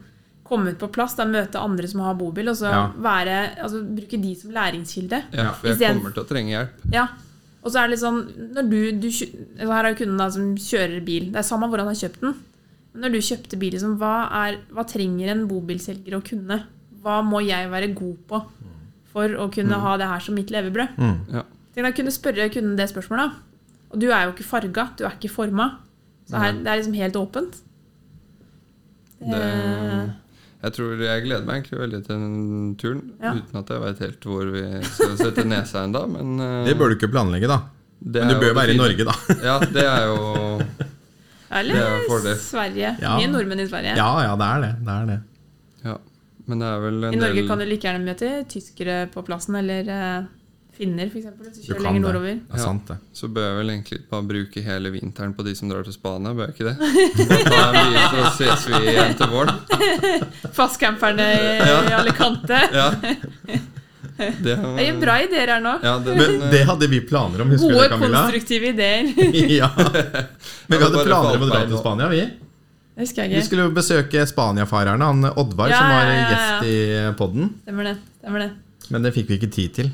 S1: komme ut på plass, da møte andre som har bobil, og så
S2: Ja.
S1: være, altså, bruke de som læringskilde.
S3: Ja, for jeg
S1: Isteden-
S3: kommer til å trenge hjelp.
S1: Ja. Og så er det litt sånn når du, du, kjø- altså, Her er jo kunden da, som kjører bil. Det er samme hvor han har kjøpt den. Men når du kjøpte bil, liksom, hva, er, hva trenger en bobilselger å kunne? Hva må jeg være god på for å kunne
S3: Mm.
S1: ha det her som mitt levebrød?
S3: Ja.
S1: Tenk deg å kunne spørre kunden det spørsmålet. da. Og du er jo ikke farga, du er ikke forma. Så her, det er liksom helt åpent. Eh,
S3: Det, jeg tror jeg gleder meg egentlig veldig til den turen,
S1: Ja.
S3: uten at jeg veit helt hvor vi skal sette nesa ennå. Men eh,
S2: Det bør du ikke planlegge, da.
S3: det
S2: Men
S3: er
S2: du
S3: jo
S2: bør være i
S3: fint.
S2: Norge, da.
S3: Ja, det er jo
S1: Eller
S3: det er en fordel.
S1: Sverige.
S2: Ja.
S1: Mye nordmenn i Sverige.
S2: Ja, ja, det er det. det, er det.
S3: Ja. Men det er vel en
S1: I Norge
S3: del
S1: kan du like gjerne møte tyskere på plassen, eller eh, finner, f.eks. Hvis du
S2: Du
S1: kjører
S2: kan
S1: lenger
S2: det.
S1: nordover.
S2: Ja, sant det.
S3: Så bør jeg vel egentlig bare bruke hele vinteren på de som drar til Spania, bør jeg ikke det? Da er vi, så ses vi igjen til våren.
S1: Fastcamperne i, i Alicante.
S3: Ja. Det,
S1: Det gir bra ideer her nå.
S3: Ja, eh, den,
S2: Men det hadde vi planer om, husker du
S1: Gode,
S2: det, Camilla?
S1: konstruktive ideer.
S2: ja. Men vi
S3: Ja,
S2: hadde
S3: bare
S2: planer om å
S3: falt
S2: dra
S3: meg
S2: til
S3: nå.
S2: Spania, vi.
S1: Det husker
S2: Vi
S1: jeg ikke.
S2: skulle jo besøke Spaniafarerne, han Oddvar
S1: Ja,
S2: som var
S1: ja, ja, ja.
S2: gjest i podden
S1: Stemmer det. Stemmer det.
S2: Men det fikk vi ikke tid til.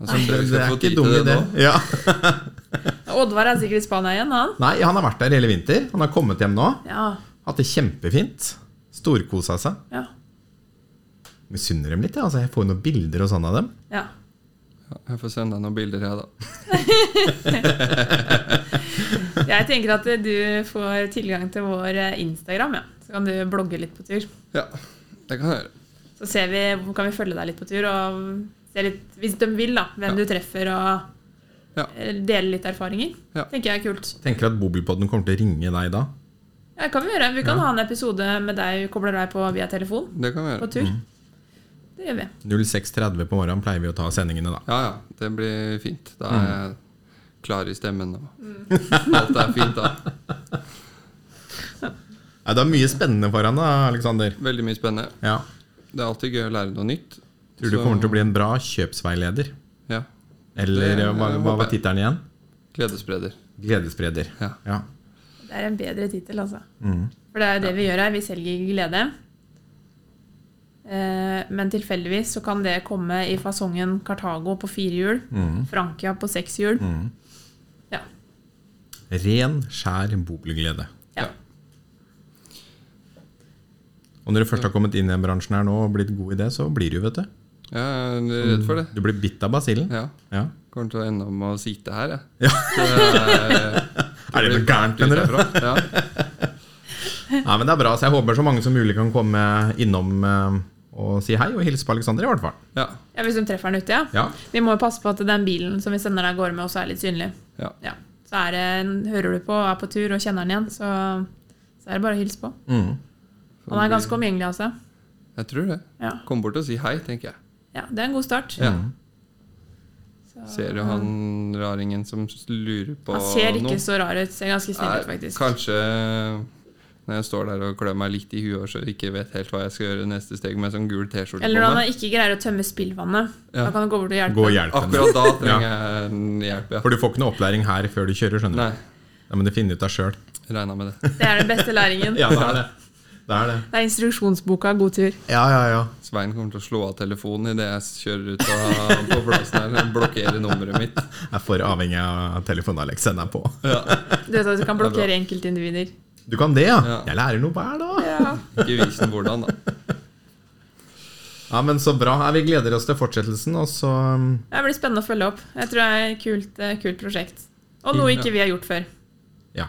S3: altså, vi skal
S2: Det er
S3: få
S2: ikke
S3: tid til
S2: dum idé.
S3: nå.
S2: Ja.
S1: Oddvar er sikkert i Spania igjen, han.
S2: Nei, han har vært der hele vinter. Han har kommet hjem nå.
S1: Ja.
S2: Hatt det kjempefint. Storkosa seg.
S1: Ja.
S2: Misunner dem litt. jeg, Altså, jeg får jo noen bilder og sånn av dem.
S1: ja.
S3: Ja, Jeg får sende deg noen bilder, jeg, da.
S1: Jeg tenker at du får tilgang til vår eh, Instagram, ja. Så kan du blogge litt på tur.
S3: Ja, det kan jeg gjøre.
S1: Så ser vi, kan vi følge deg litt på tur, og se litt, hvis de vil, da, hvem du treffer, og
S3: Ja.
S1: eh, dele litt erfaringer.
S3: Ja.
S1: Tenker jeg er kult.
S2: Tenker at Bobilpodden kommer til å ringe deg da.
S1: Ja, det kan vi gjøre. Vi kan ha en episode med deg, kobler deg på via telefon
S3: Det kan vi
S1: på
S3: gjøre.
S1: tur. Det gjør vi.
S2: 06.30 på morgenen pleier vi å ta sendingene da.
S3: Ja, ja. Det blir fint. Da er jeg klar i stemmen. Og
S2: Mm.
S3: alt er fint da.
S2: Nei, det er mye spennende foran deg, Aleksander.
S3: Veldig mye spennende.
S2: Ja.
S3: Det er alltid gøy å lære noe nytt.
S2: Tror du
S3: Så-
S2: kommer til å bli en bra kjøpsveileder?
S3: Ja.
S2: Eller
S3: Det,
S2: hva,
S3: eh,
S2: hva
S3: håper
S2: var
S3: jeg.
S2: tittelen igjen?
S3: Gledesspreder.
S2: Gledesspreder.
S3: Ja.
S2: Ja.
S1: Det er en bedre tittel, altså. For det er jo det vi gjør her. Vi selger glede. Eh, Men tilfeldigvis så kan det komme i fasongen Cartago på fire hjul, Frankia på seks hjul. Ja.
S2: Ren, skjær bobilglede.
S1: ja.
S2: Og når du først har kommet inn i den bransjen her nå og blitt god i det, så blir du, vet du.
S3: Jeg er redd for det.
S2: Du blir bitt av basillen.
S3: Ja.
S2: Ja.
S3: Kommer til å ende om å sitte her, jeg.
S2: Ja.
S3: Så jeg-
S2: Er det noe gærent,
S3: blir
S2: mener du?
S3: borte utenfra. Ja.
S2: Nei, men det er bra, så jeg håper så mange som mulig kan komme innom eh, og si hei og hilse på Aleksander, i hvert fall.
S3: Ja.
S1: ja, Hvis de treffer den ute, ja.
S2: Ja.
S1: Vi må jo passe på at den bilen som vi sender deg av gårde med, også er litt synlig.
S3: ja.
S1: Ja. Så er det, en- hører du på, er på tur og kjenner den igjen, så, så er det bare å hilse på.
S2: Mm.
S1: Han er ganske omgjengelig, altså.
S3: Jeg tror det.
S1: Ja.
S3: Kom bort og si hei, tenker jeg.
S1: ja, det er en god start.
S3: Ja.
S1: Så-
S3: Ser jo han raringen som lurer på
S1: han ser ikke
S3: noe.
S1: så rar ut. Ser ganske snill ut,
S3: Nei,
S1: faktisk.
S3: Kanskje eh, når jeg står der og klør meg litt i huet og så ikke vet helt hva jeg skal gjøre neste steg med sånn gul T-skjorte
S1: Eller når
S3: på meg.
S1: han ikke greier å tømme spillvannet.
S3: Ja.
S1: Da kan du gå bort og hjelpe.
S2: Gå og hjelp henne.
S3: Akkurat da trenger jeg en hjelp, ja.
S2: For du får ikke noe opplæring her før du kjører, skjønner du.
S3: Nei,
S2: Ja, men du finner ut av sjøl.
S3: regna med det.
S1: Det er den beste læringen.
S2: Ja, det er det. Det er det.
S1: Det er instruksjonsboka God tur.
S2: Ja, ja, ja.
S3: Svein kommer til å slå av telefonen idet jeg kjører ut av på plassen her og blokkerer nummeret mitt.
S2: Jeg er for avhengig av telefonen Alex sender på.
S1: Du vet at du kan blokkere enkeltindivider.
S2: Du kan det, ja?
S3: Ja.
S2: Jeg lærer noe hver dag.
S1: Ja.
S3: Ikke vis den hvordan, da.
S2: Ja, men så bra. Ja, vi gleder oss til fortsettelsen, og så um,
S1: Det blir spennende å følge opp. Jeg tror det er et kult, eh, kult prosjekt. Og noe ikke vi har gjort før.
S2: Ja.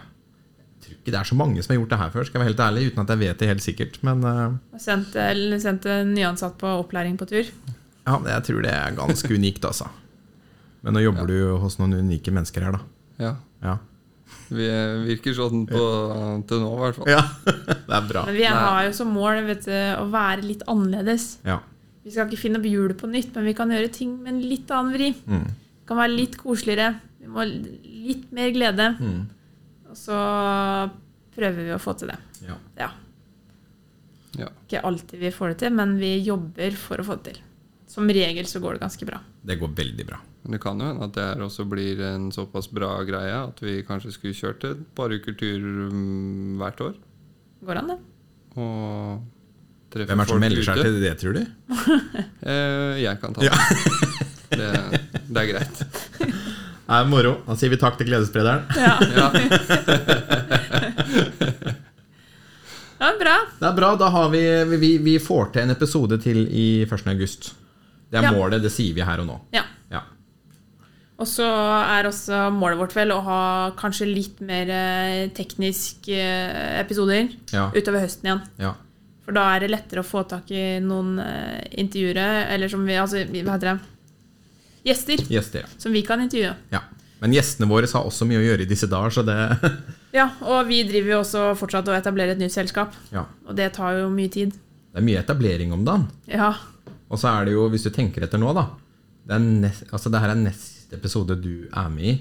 S2: Jeg tror ikke det er så mange som har gjort det her før, skal jeg være helt ærlig, uten at jeg vet det helt sikkert. Men uh,
S1: Og Sendt, eller sendt en nyansatt på opplæring på tur.
S2: ja, men jeg tror det er ganske unikt, altså. Men nå jobber du jo hos noen unike mennesker her, da.
S3: Ja.
S2: Ja.
S3: Vi eh, virker sånn på, til nå, i hvert fall.
S2: ja. Det er bra.
S1: Men vi har jo som mål vet du, å være litt annerledes.
S2: Ja.
S1: Vi skal ikke finne opp hjulet på nytt, men vi kan gjøre ting med en litt annen vri.
S2: Mm.
S1: Det kan være litt koseligere. Vi må ha litt mer glede.
S2: Mm.
S1: Og så prøver vi å få til det.
S2: ja.
S1: Ja.
S3: Ja.
S1: Ikke alltid vi får det til, men vi jobber for å få det til. Som regel så går det ganske bra.
S2: Det går veldig bra.
S3: Men det kan jo hende at det her også blir en såpass bra greie at vi kanskje skulle kjørt et par uker tur mm, hvert år.
S1: Går an, det?
S3: Og treffe
S2: Hvem er det som
S3: folk
S2: melder seg
S3: ute.
S2: til det, tror du?
S3: Eh, jeg kan ta det. det. Det er greit.
S2: Det er moro. Da sier vi takk til Gledessprederen.
S1: Ja,
S3: Ja.
S1: ja bra.
S2: Det er bra. Da har vi, vi, vi får til en episode til i 1. august. Det er
S1: Ja.
S2: målet. Det sier vi her og nå.
S1: Ja.
S2: Ja.
S1: Og så er også målet vårt vel å ha kanskje litt mer eh, teknisk eh, episoder
S2: Ja.
S1: utover høsten igjen.
S2: ja.
S1: For da er det lettere å få tak i noen eh, intervjuere, eller som vi Altså, vi- hva heter det? Gjester
S2: Gjester, ja.
S1: som vi kan intervjue.
S2: ja. Men gjestene våre har også mye å gjøre i disse dager, så det
S1: Ja, og vi driver jo også fortsatt og etablerer et nytt selskap.
S2: Ja.
S1: Og det tar jo mye tid.
S2: Det er mye etablering om dagen.
S1: Ja.
S2: Og så er det jo, hvis du tenker etter nå, da Det, er nest, altså det her er neste episode du er med i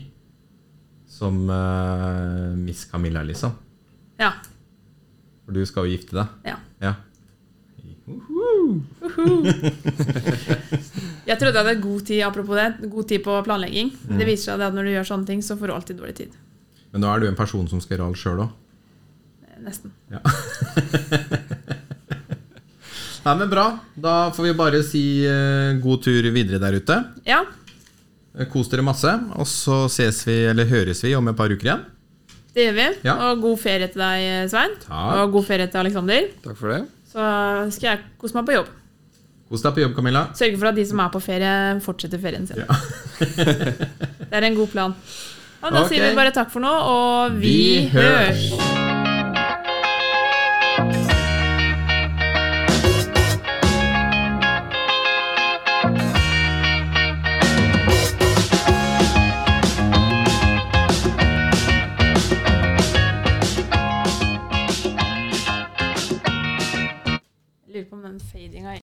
S2: som eh, Miss Camilla, liksom.
S1: Ja.
S2: For du skal jo gifte deg.
S1: ja.
S2: Ja.
S1: Jeg trodde jeg hadde god tid apropos det, god tid på planlegging.
S2: Mm.
S1: Men Det viser seg det at når du gjør sånne ting, så får du alltid dårlig tid.
S2: Men nå er du en person som skal gjøre alt sjøl òg.
S1: Eh, Nesten.
S2: Nei, men bra. Da får vi bare si eh, god tur videre der ute.
S1: Ja.
S2: Eh, Kos dere masse. Og så ses vi, eller høres vi, om et par uker igjen.
S1: Det gjør vi.
S2: Ja.
S1: Og god ferie til deg, Svein.
S2: Takk.
S1: Og god ferie til Aleksander.
S3: Takk for det.
S1: Så skal jeg kose meg på jobb.
S2: Kos deg på jobb, Camilla.
S1: Sørge for at de som er på ferie, fortsetter ferien sin. det er en god plan. Og da sier
S2: Ok.
S1: vi bare takk for nå, og vi,
S2: Vi hørs.
S1: hørs. Jeg lurer på om den fadinga